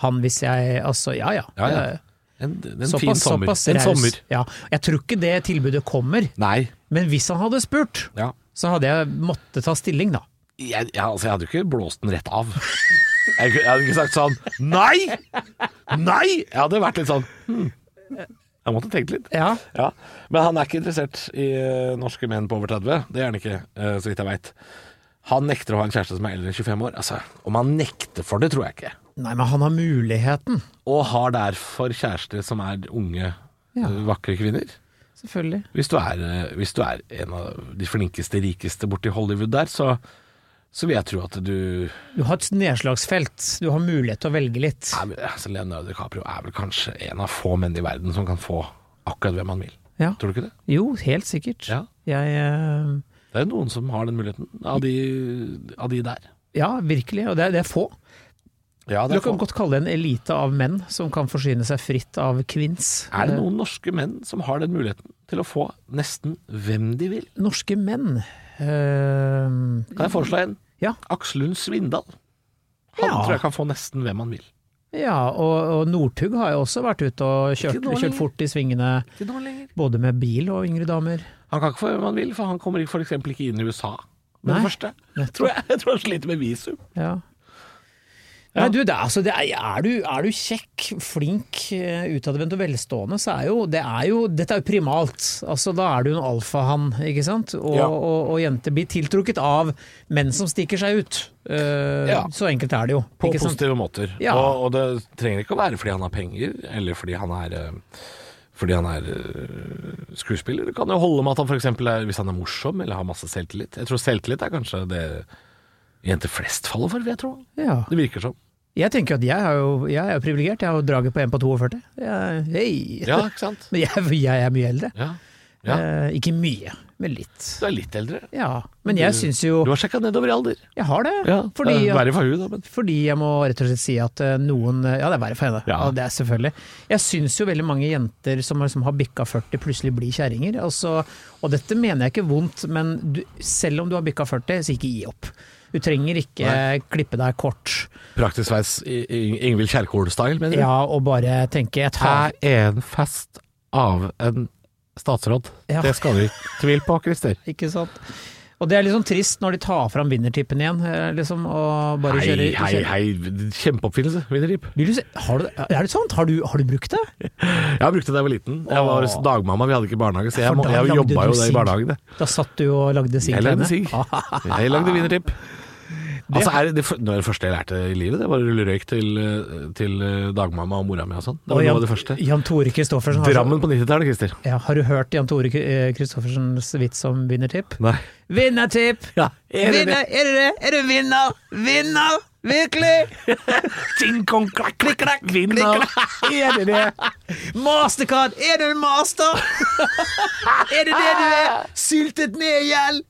S3: han hvis jeg Altså, ja ja.
S2: Ja, ja. En, en fin
S3: Såpass,
S2: sommer.
S3: såpass
S2: en
S3: raus.
S2: sommer.
S3: Ja. Jeg tror ikke det tilbudet kommer,
S2: Nei.
S3: men hvis han hadde spurt,
S2: Ja.
S3: så hadde jeg måttet ta stilling, da.
S2: Jeg, jeg, altså, jeg hadde jo ikke blåst den rett av. Jeg, kunne- jeg hadde ikke sagt sånn Nei! Nei! Jeg hadde vært litt sånn hm. Jeg måtte tenkt litt.
S3: Ja.
S2: Ja, Men han er ikke interessert i eh, norske menn på over 30. Det er han ikke, eh, så vidt jeg veit. Han nekter å ha en kjæreste som er eldre enn 25 år. Altså, Om han nekter for det, tror jeg ikke.
S3: Nei, men han har muligheten.
S2: Og har derfor kjærester som er unge,
S3: Ja.
S2: eh, vakre kvinner.
S3: Selvfølgelig.
S2: Hvis du, er, eh, hvis du er en av de flinkeste, rikeste borti Hollywood der, så, så vil jeg tro at du
S3: Du har et nedslagsfelt, du har mulighet til å velge litt.
S2: Nei, men, altså, Leonardo DiCaprio er vel kanskje en av få menn i verden som kan få akkurat hvem han vil.
S3: Ja.
S2: Tror du ikke det?
S3: Jo, helt sikkert.
S2: Ja.
S3: Jeg eh,
S2: Det er jo noen som har den muligheten, av de, av de der.
S3: Ja, virkelig. Og det er, det er få.
S2: Ja,
S3: Du kan godt kalle det en elite av menn som kan forsyne seg fritt av kvinns.
S2: Er det noen norske menn som har den muligheten til å få nesten hvem de vil?
S3: Norske menn eh,
S2: Kan jeg foreslå en?
S3: Ja.
S2: Aksel Lund Svindal. Han
S3: Ja.
S2: tror jeg kan få nesten hvem han vil.
S3: Ja, og, og Northug har jo også vært ute og kjørt,
S2: Ikke nå
S3: kjørt
S2: lenger.
S3: fort i svingene,
S2: Ikke nå lenger.
S3: både med bil og yngre damer.
S2: Han kan ikke få hvem han vil, for han kommer ikke- for eksempel ikke inn i USA med
S3: Nei.
S2: det første. Tror jeg, jeg tror han sliter med visum.
S3: Ja.
S2: Ja.
S3: Nei, du, det er, altså, det er, er, du, er du kjekk, flink, eh, utadvendt og velstående, så er jo, det er jo Dette er jo primalt. Altså, da er du en alfahann, ikke sant? Og,
S2: Ja.
S3: og, og, jenter blir tiltrukket av menn som stikker seg ut. Eh,
S2: Ja.
S3: Så enkelt er det jo.
S2: På
S3: ikke sant?
S2: positive måter.
S3: Ja.
S2: Og, og det trenger ikke å være fordi han har penger, eller fordi han er eh, fordi han er eh, skuespiller. Det kan jo holde med at han for eksempel er, hvis han er morsom eller har masse selvtillit. Jeg tror selvtillit er kanskje det jenter flest faller for, vil jeg tro.
S3: Ja.
S2: Det virker som.
S3: Jeg tenker jo at jeg, er jo- jeg er jo privilegert. Jeg har jo draget på en på 42. Jeg, hei!
S2: Ja, ikke sant?
S3: Men jeg, jeg er mye eldre.
S2: Ja. Ja.
S3: Eh, ikke mye, men litt.
S2: Du er litt eldre.
S3: Ja, men jeg syns jo
S2: Du har sjekka nedover i alder.
S3: Jeg har det.
S2: Ja,
S3: fordi,
S2: eh,
S3: at,
S2: Verre for hun da, men
S3: fordi jeg må rett og slett si at eh, noen Ja, det er verre for henne. Ja.
S2: Ja.
S3: det er selvfølgelig. Jeg syns jo veldig mange jenter som, har- som har bikka 40, plutselig blir kjerringer. Altså, og dette mener jeg ikke vondt, men du, selv om du har bikka 40, så ikke gi opp. Du trenger ikke
S2: Nei.
S3: klippe deg kort
S2: praktisk sveis I- I- Ingvild Kjerkol-style, mener du?
S3: ja, og bare tenke jeg tar,
S2: Her er en fest av en statsråd.
S3: Ja.
S2: Det skal du ikke tvile på, Christer.
S3: Ikke sant? Og det er litt sånn trist når de tar fram vinnertippen igjen, eh, liksom, og bare
S2: Hei,
S3: kjører,
S2: hei,
S3: kjører.
S2: hei. Kjempeoppfinnelse, vinnerrip.
S3: Vil du se, har du, er det sant? Har du, har du brukt det?
S2: Jeg brukte det da jeg var liten. Jeg var
S3: Åh.
S2: dagmamma, vi hadde ikke barnehage, så jeg,
S3: for
S2: må-
S3: da
S2: jeg
S3: lagde
S2: jobba
S3: du
S2: jo det
S3: sigg.
S2: i barnehagen. det.
S3: Da satt du og lagde sigg?
S2: Jeg lagde
S3: til henne.
S2: sigg. Jeg lagde vinnerrip. Altså, er det, det, f- det var det første jeg lærte i livet, det var å rulle røyk til, eh, til eh, dagmamma og mora mi og sånn. Det
S3: Og
S2: var noe
S3: Jan-
S2: av det første.
S3: Jan Tore Kristoffersen. har så-
S2: Drammen på 90-tallet, Christer.
S3: Ja, har du hørt Jan Tore eh, Kristoffersens vits om vinnertipp?
S2: Nei.
S3: Vinnertipp!
S2: Ja, er det
S3: Vinner, er det det? Er det vinner? Vinner! Virkelig!
S2: Ting kong klakk, klikk, klakk, vinner. Er det det?
S3: Mastercard! Er du en master? er det det du er? Syltet ned i gjeld!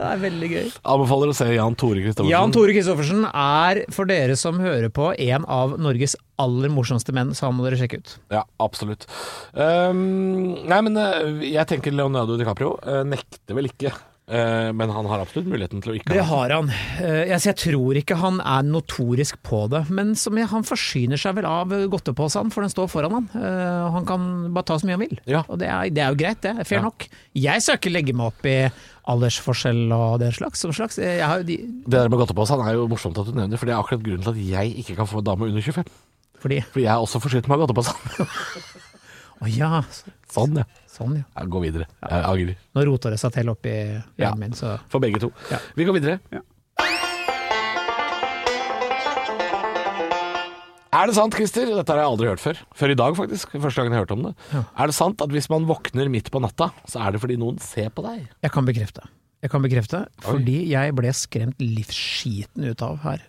S3: Det er veldig gøy.
S2: Anbefaler å se Jan Tore Christoffersen.
S3: Jan Tore Kristoffersen er, for dere som hører på, en av Norges aller morsomste menn, så han må dere sjekke ut.
S2: Ja, absolutt. Ehm, nei, men eh, jeg tenker Leonardo DiCaprio eh, nekter vel ikke. eh, men han har absolutt muligheten til å ikke
S3: Det har han. Eh, Jeg, jeg tror ikke han er notorisk på det, men som jeg, han forsyner seg vel av godteposen, for den står foran han. Eh, Han kan bare ta så mye han vil.
S2: Ja.
S3: Og det er, det er jo greit, det. er Fair
S2: Ja.
S3: nok. Jeg skal ikke legge meg opp i aldersforskjell og den slags. Som slags. Eh, Jeg har jo de,
S2: Det der med godtepose han er jo morsomt at du nevner, for det er akkurat grunnen til at jeg ikke kan få dame under 25.
S3: fordi
S2: Fordi jeg er også forsynt meg av godtepose.
S3: Å ja,
S2: sånn, ja.
S3: sånn ja.
S2: Jeg går videre. Jeg angrer.
S3: Nå roter det seg til oppi
S2: Ja.
S3: hjernen min, så
S2: For begge to.
S3: Ja.
S2: Vi går videre. Er det sant, Christer, dette har jeg aldri hørt før, før i dag faktisk, første gangen jeg hørte om det, er det sant at hvis man våkner midt på natta, så er det fordi noen ser på deg?
S3: Jeg kan bekrefte. Jeg kan bekrefte, fordi jeg ble skremt livsskiten ut av her.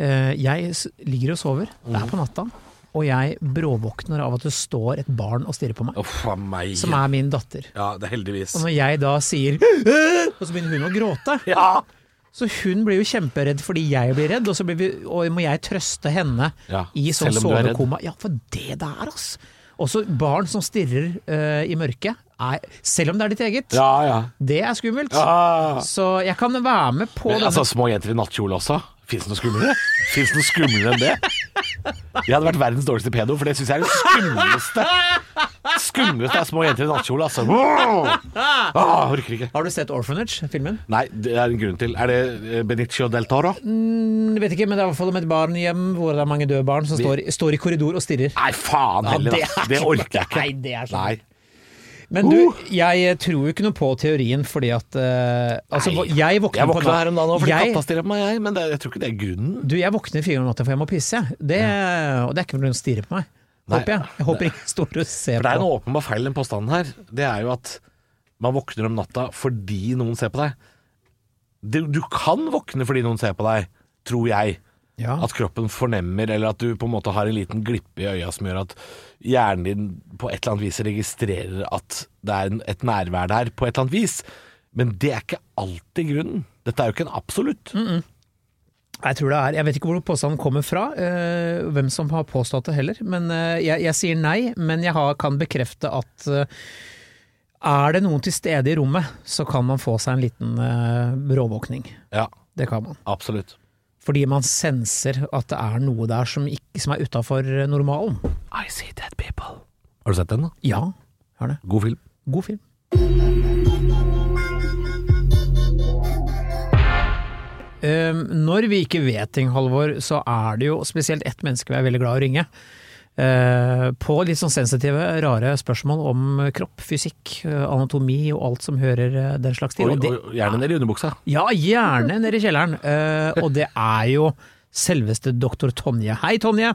S3: Eh, Jeg s- ligger og sover, det er på
S2: Mhm.
S3: natta, og jeg bråvåkner av at det står et barn og stirrer på meg,
S2: Uff a meg.
S3: som er min datter.
S2: Ja, det er heldigvis.
S3: Og når jeg da sier «Åh!», Og så begynner hun å gråte.
S2: Ja!
S3: Så hun blir jo kjemperedd fordi jeg blir redd, og så blir vi, og må jeg trøste henne
S2: Ja,
S3: i sånn
S2: selv om du er redd.
S3: sovekoma. Ja, for det det er, ass! Også barn som stirrer eh, i mørket, er, selv om det er ditt eget,
S2: Ja, ja.
S3: det er skummelt. Så jeg kan være med på
S2: Men,
S3: denne
S2: altså, små jenter i nattkjole også. Fins det noe skumlere? Fins det noe skumlere enn det? Jeg hadde vært verdens dårligste pedo, for det syns jeg er det skumleste. Skumleste er små jenter i nattkjole, altså. Wow! Ah, orker ikke.
S3: Har du sett Orphanage, filmen?
S2: Nei, det er en grunn til. Er det eh, Benicio del Toro?
S3: Jeg vet ikke, men det er i hvert fall om et barn hjem hvor det er mange døde barn som står, står i korridor og stirrer.
S2: Nei, faen heller,
S3: det
S2: da.
S3: er
S2: Det
S3: ikke-
S2: orker jeg ikke.
S3: Nei, det er sånn.
S2: Nei.
S3: Men du,
S2: Uh!
S3: jeg tror jo ikke noe på teorien fordi at eh, Altså,
S2: Nei.
S3: jeg våkner
S2: Jeg
S3: på
S2: våkna her om dagen òg fordi
S3: Jeg-
S2: katta stirrer på meg, jeg. Men det, jeg tror ikke det er grunnen.
S3: Du, jeg våkner fire ganger om natta for jeg må pisse, jeg. Det, og det er ikke fordi hun stirrer på meg.
S2: Nei.
S3: Håper jeg. Jeg håper ingen står og ser
S2: For det er
S3: på.
S2: en åpenbar feil i den påstanden her. Det er jo at man våkner om natta fordi noen ser på deg. Du, du kan våkne fordi noen ser på deg, tror jeg.
S3: Ja.
S2: At kroppen fornemmer, eller at du på en måte har en liten glippe i øya som gjør at hjernen din på et eller annet vis registrerer at det er en- et nærvær der, på et eller annet vis. Men det er ikke alltid grunnen. Dette er jo ikke en absolutt.
S3: Jeg tror det er, jeg vet ikke hvor påstanden kommer fra, eh, hvem som har påstått det heller. Men eh, jeg, jeg sier nei, men jeg har, kan bekrefte at eh, er det noen til stede i rommet, så kan man få seg en liten eh, bråvåkning.
S2: Ja,
S3: Det kan man.
S2: absolutt.
S3: Fordi man senser at det er noe der som, ikke, som er utafor normalen.
S2: I see dead people. Har du sett den, da?
S3: Ja, har det.
S2: God film.
S3: God film. Um, når vi ikke vet ting, Halvor, så er det jo spesielt ett menneske vi er veldig glad i å ringe. Eh, på litt sånn sensitive, rare spørsmål om kropp, fysikk, eh, anatomi og alt som hører eh, den slags til.
S2: Oi,
S3: Og det-
S2: oi, gjerne ned i underbuksa.
S3: Ja, gjerne nede i kjelleren. Eh, og det er jo selveste doktor Tonje. Hei, Tonje!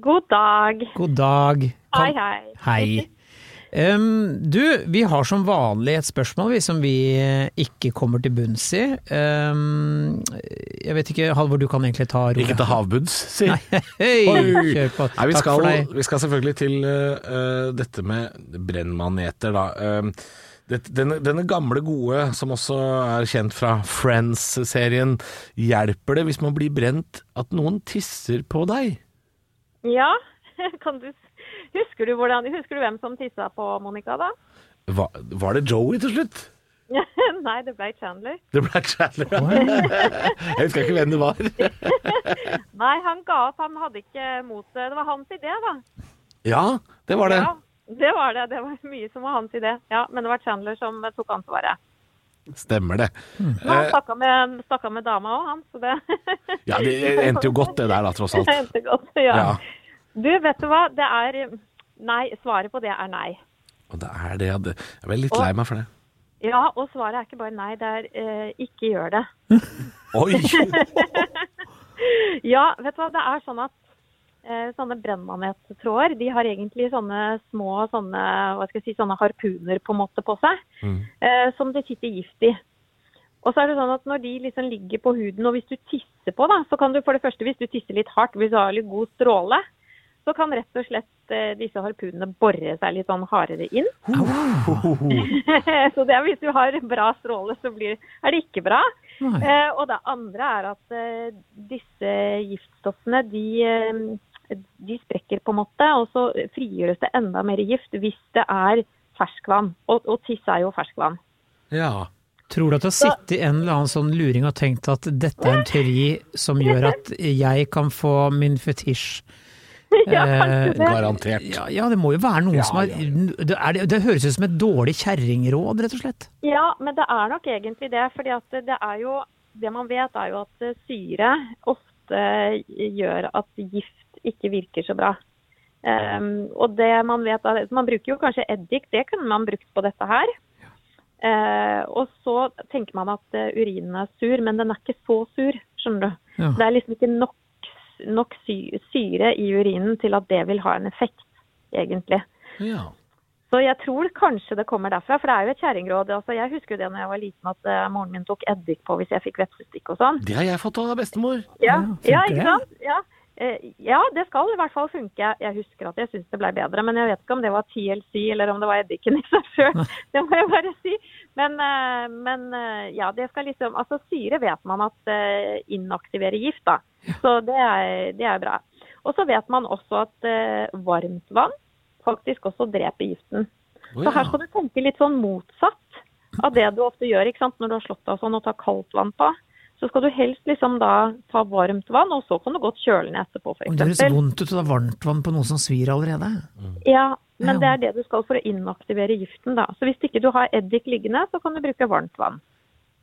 S1: God dag.
S3: God dag.
S1: Hei, hei.
S3: Hei. Ehm, du, vi har som vanlig et spørsmål vi, som vi eh, ikke kommer til bunns i. Ehm, jeg vet ikke, Halvor, du kan egentlig ta roret.
S2: Ikke til havbuds, si.
S3: Hei,
S2: Oi.
S3: kjør på.
S2: Nei, vi,
S3: Takk
S2: skal,
S3: for deg.
S2: vi skal selvfølgelig til eh, eh, dette med brennmaneter, da. Eh, det, denne, denne gamle gode, som også er kjent fra Friends-serien, hjelper det hvis man blir brent at noen tisser på deg?
S1: Ja, kan du, husker, du hvordan, husker du hvem som tissa på Monica da?
S2: Hva, var det Joey til slutt?
S1: Nei, det ble Chandler.
S2: Det ble Chandler. Jeg husker ikke hvem det var.
S1: Nei, han ga opp. Han hadde ikke mot det. Det var hans idé, da.
S2: Ja, det var det.
S1: Ja, det var det. Det var mye som var hans idé. Ja, men det var Chandler som tok ansvaret.
S2: Stemmer det.
S3: Hmm.
S1: Men han
S2: Eh,
S1: snakka med, snakket med dama òg, han. Så det
S2: ja, det endte jo godt det der, da, tross alt.
S1: Det endte godt. Ja.
S2: Ja.
S1: Du, vet du hva? Det er eh, Nei. Svaret på det er nei.
S2: Og det er det. ja, det- Jeg ble litt lei meg for det.
S1: Ja, og svaret er ikke bare nei, det er eh, ikke gjør det.
S2: Oi!
S1: Ja, vet du hva, det er sånn at eh, sånne brennmanettråder, de har egentlig sånne små sånne, hva skal jeg si, sånne harpuner på en måte på seg, eh, som det sitter gift i. Og så er det sånn at når de liksom ligger på huden, og hvis du tisser på da, så kan du for det første, hvis du tisser litt hardt, hvis du har litt god stråle, så kan rett og slett eh, disse harpunene borre seg litt sånn hardere inn. så det er hvis du har bra stråle, så blir, er det ikke bra.
S3: Nei.
S1: Eh, og det andre er at eh, disse giftstoffene de, eh, de sprekker på en måte, og så frigjøres det enda mer gift hvis det er ferskvann. Og, og tiss er jo ferskvann.
S2: Ja.
S3: Tror du at det har sittet en eller annen sånn luring og tenkt at dette er en teori som gjør at jeg kan få min fetisj? Eh,
S2: Garantert.
S3: ja, ja, det må jo være noen
S2: Ja,
S3: som har
S2: ja,
S3: det, er, det høres ut som et dårlig kjerringråd, rett og slett.
S1: Ja, men det er nok egentlig det. fordi at det er jo Det man vet, er jo at eh, syre ofte gjør at gift ikke virker så bra. Ehm, og det man vet er, Man bruker jo kanskje eddik, det kunne man brukt på dette her. Eh, og så tenker man at eh, urinen er sur, men den er ikke så sur, skjønner du.
S3: Ja.
S1: Det er liksom ikke nok, nok sy syre i urinen til at det vil ha en effekt, egentlig.
S2: ja.
S1: Så jeg tror kanskje det kommer derfra, for det er jo et kjerringråd. Altså, jeg husker jo det når jeg var liten at eh, moren min tok eddik på hvis jeg fikk vepsestikk og sånn.
S2: Det har jeg fått av bestemor.
S3: Ja,
S1: Ja, ja,
S3: funker det?
S1: ikke sant? Ja. Eh, ja, det skal i hvert fall funke. Jeg husker at jeg syns det ble bedre, men jeg vet ikke om det var TLC eller om det var eddiken i seg sjøl. Det må jeg bare si. Men, eh, men eh, ja, det skal liksom Altså syre vet man at eh, inaktiverer gift, da. Så det er, det er bra. Og så vet man også at eh, varmt vann faktisk også dreper giften.
S2: Å,
S1: Så her
S2: ja.
S1: skal du tenke litt sånn motsatt av det du ofte gjør ikke sant? når du har slått av sånn og tar kaldt vann på. Så skal du helst liksom da ta varmt vann, og så kan du godt kjøle ned etterpå,
S3: Om det høres
S1: f.eks.
S3: vondt ut å ta varmt vann på noe som svir allerede.
S1: Ja,
S3: Ja.
S1: men det er det du skal for å inaktivere giften, da. Så hvis ikke du har eddik liggende, så kan du bruke varmt vann.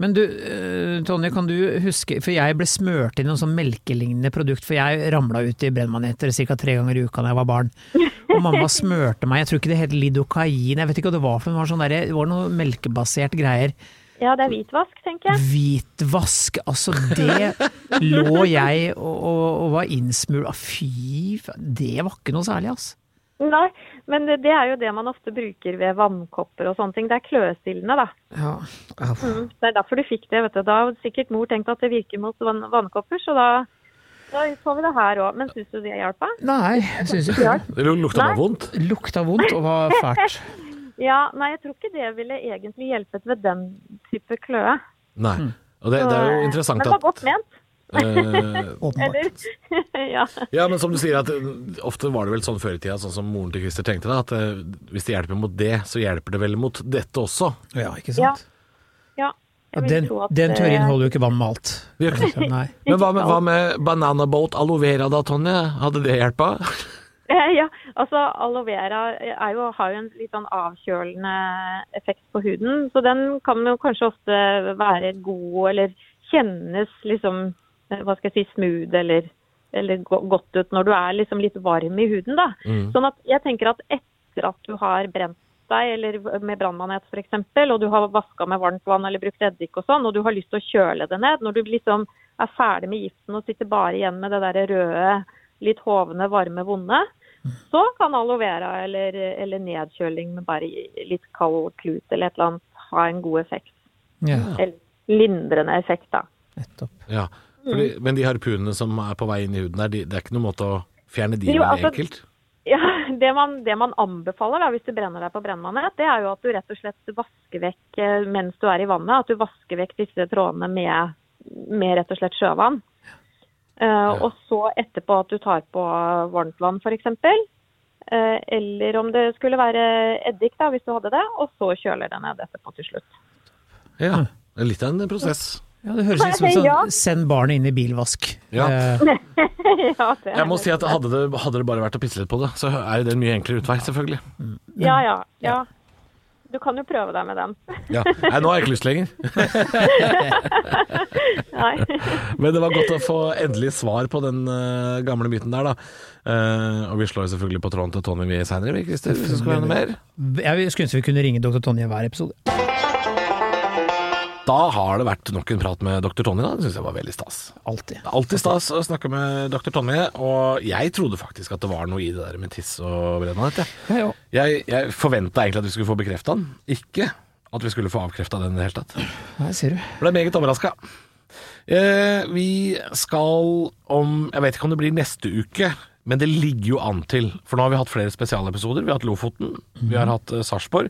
S3: Men du, eh, Tonje, kan du huske, for jeg ble smørt inn i noen sånn melkelignende produkt, for jeg ramla ut i brennmaneter ca. tre ganger i uka da jeg var barn. Og mamma smørte meg, jeg tror ikke det het lidokain, jeg vet ikke hva det var for noe, det var sånn derre- det var noe melkebasert greier.
S1: Ja, det er hvitvask, tenker jeg.
S3: Hvitvask, altså det lå jeg og, og, og var innsmurt Fy faen, det var ikke noe særlig, ass.
S1: Nei, men det det er jo det man ofte bruker ved vannkopper og sånne ting. Det er kløestillende, da.
S3: Ja.
S1: Mm, Det er derfor du fikk det, vet du. Da har sikkert mor tenkt at det virker mot vann vannkopper, så da, da får vi det her òg. Men syns du det hjalp? da?
S3: Nei, jeg syns ikke det.
S2: Det lukta bare vondt.
S3: Lukta vondt og var fælt.
S1: Ja, nei, jeg tror ikke det ville egentlig hjulpet ved den type kløe.
S2: Nei. Og det, det er jo interessant
S1: Men det var
S2: at
S1: godt ment,
S2: eh,
S3: Åpenbart.
S1: eller? ja.
S2: Ja, men som du sier, at eh, ofte var det vel sånn før i tida, sånn som moren til Christer tenkte, da, at eh, hvis det hjelper mot det, så hjelper det vel mot dette også.
S3: Ja, ikke
S1: Ja.
S3: sant.
S1: ja.
S3: Ja,
S1: Jeg vil
S3: den,
S1: tro at eh,
S3: den
S1: det-
S3: teorien holder jo ikke vann med alt.
S2: Det gjør ikke det.
S3: Nei.
S2: Men hva med, hva med banana boat aloe vera da, Tonje? Hadde det hjelpa?
S1: Eh, Ja, altså aloe vera er jo, har jo en litt sånn avkjølende effekt på huden, så den kan jo kanskje ofte være god eller kjennes liksom, eh, hva skal jeg si, smooth eller, eller go- godt ut når du er liksom litt varm i huden da. Sånn at jeg tenker at etter at du har brent deg, eller med brannmanet for eksempel, og du har vasket med varmt vann eller brukt eddik og sånn, og du har lyst til å kjøle det ned, når du liksom er ferdig med giften og sitter bare igjen med det der røde, litt hovne, varme, vonde, Så kan aloe vera eller, eller nedkjøling med bare litt kald klut eller et eller annet ha en god effekt.
S3: Ja,
S1: Eller lindrende effekt, da.
S3: nettopp.
S2: Ja. Fordi, men de harpunene som er på vei inn i huden der, de, det er ikke noen måte å fjerne de
S1: Jo,
S2: veldig
S1: altså-
S2: enkelt?
S1: Ja, det man, det man anbefaler da, hvis du brenner deg på brennmanet, det er jo at du rett og slett vasker vekk eh, mens du er i vannet, at du vasker vekk disse trådene med, med rett og slett sjøvann. Eh, Og så etterpå at du tar på varmt vann f.eks. Uh, eller om det skulle være eddik, da, hvis du hadde det. Og så kjøler det ned etterpå til slutt.
S2: Ja. Det er litt av en prosess.
S3: Ja, det høres ut som
S1: Ja.
S3: sånn send barnet inn i bilvask.
S2: Ja.
S3: Eh,
S1: ja, det,
S2: Jeg må si at hadde det, hadde det bare vært å pisse litt på det, så er det en mye enklere utvei, selvfølgelig.
S1: ja, ja, ja. Du kan jo prøve deg med den.
S2: Ja. Nei, nå har jeg ikke lyst lenger.
S1: Nei.
S2: Men det var godt å få endelig svar på den eh, gamle myten der, da. Eh, og vi slår jo selvfølgelig på tråden til Tony Wie seinere, vi, Christer, hvis det skal være noe mer.
S3: Jeg skulle ønske vi kunne ringe dr. Tonje hver episode.
S2: Da har det vært nok en prat med dr. Tony, da. Det syns jeg var veldig stas.
S3: Alltid.
S2: Det er alltid stas å snakke med dr. Tonje, og jeg trodde faktisk at det var noe i det der med tiss og brennanett.
S3: Ja, ja.
S2: Jeg, jeg forventa egentlig at vi skulle få bekrefta den, ikke at vi skulle få avkrefta den i det hele tatt.
S3: Her ser du.
S2: Ble meget overraska. Eh, vi skal om Jeg vet ikke om det blir neste uke, men det ligger jo an til. For nå har vi hatt flere spesialepisoder. Vi har hatt Lofoten, vi har hatt eh, Sarpsborg,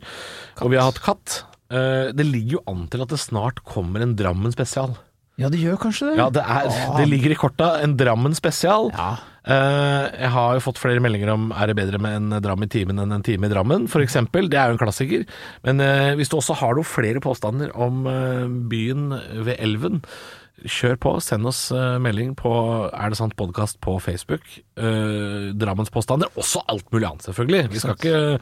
S2: og vi har hatt Katt. Eh, det ligger jo an til at det snart kommer en Drammen spesial.
S3: Ja, det gjør kanskje det.
S2: Ja, det, er, det ligger i korta. En Drammen spesial.
S3: Ja.
S2: Eh, jeg har jo fått flere meldinger om er det bedre med en dram i timen enn en time i Drammen, f.eks. Det er jo en klassiker. Men eh, hvis du også har noen flere påstander om eh, byen ved elven, kjør på. Send oss eh, melding på Er det sant podkast på Facebook. Eh, Drammens påstander. Også alt mulig annet, selvfølgelig. Vi skal ikke,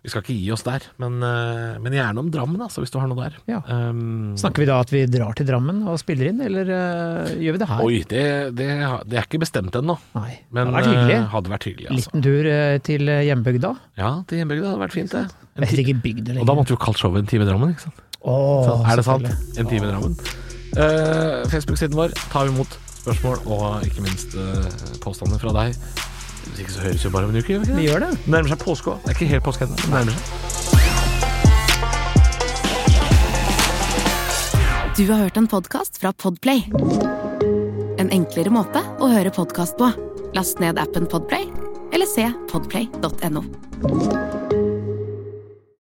S2: vi skal ikke gi oss der. Men, eh, men gjerne om Drammen, altså, hvis du har noe der.
S3: Ja.
S2: Um,
S3: Snakker vi da at vi drar til Drammen og spiller inn, eller eh, gjør vi det her?
S2: Oi, det, det, det er ikke bestemt ennå.
S3: Nei.
S2: Men
S3: det hadde vært hyggelig.
S2: eh, hadde vært hyggelig, altså.
S3: Liten tur eh, til eh, hjembygda.
S2: Ja, til hjembygda hadde vært fint, det. En
S3: Jeg
S2: ti-
S3: vet ikke bygda
S2: og da
S3: lenger.
S2: måtte vi jo kalt showet En time i Drammen, ikke sant?
S3: Åh,
S2: er det sant?
S3: selvfølgelig.
S2: En time i Drammen. Eh, Facebook-siden vår tar vi imot spørsmål og ikke minst eh, påstander fra deg. Hvis ikke så høres vi jo bare om en uke, gjør vi
S3: Vi
S2: ikke det?
S3: gjør det.
S2: Det nærmer seg påske òg. Det er ikke helt påske ennå. men det nærmer seg.
S4: Du har hørt en podcast fra Podplay En enklere måte å høre podcast på Last ned appen Podplay Eller se podplay.no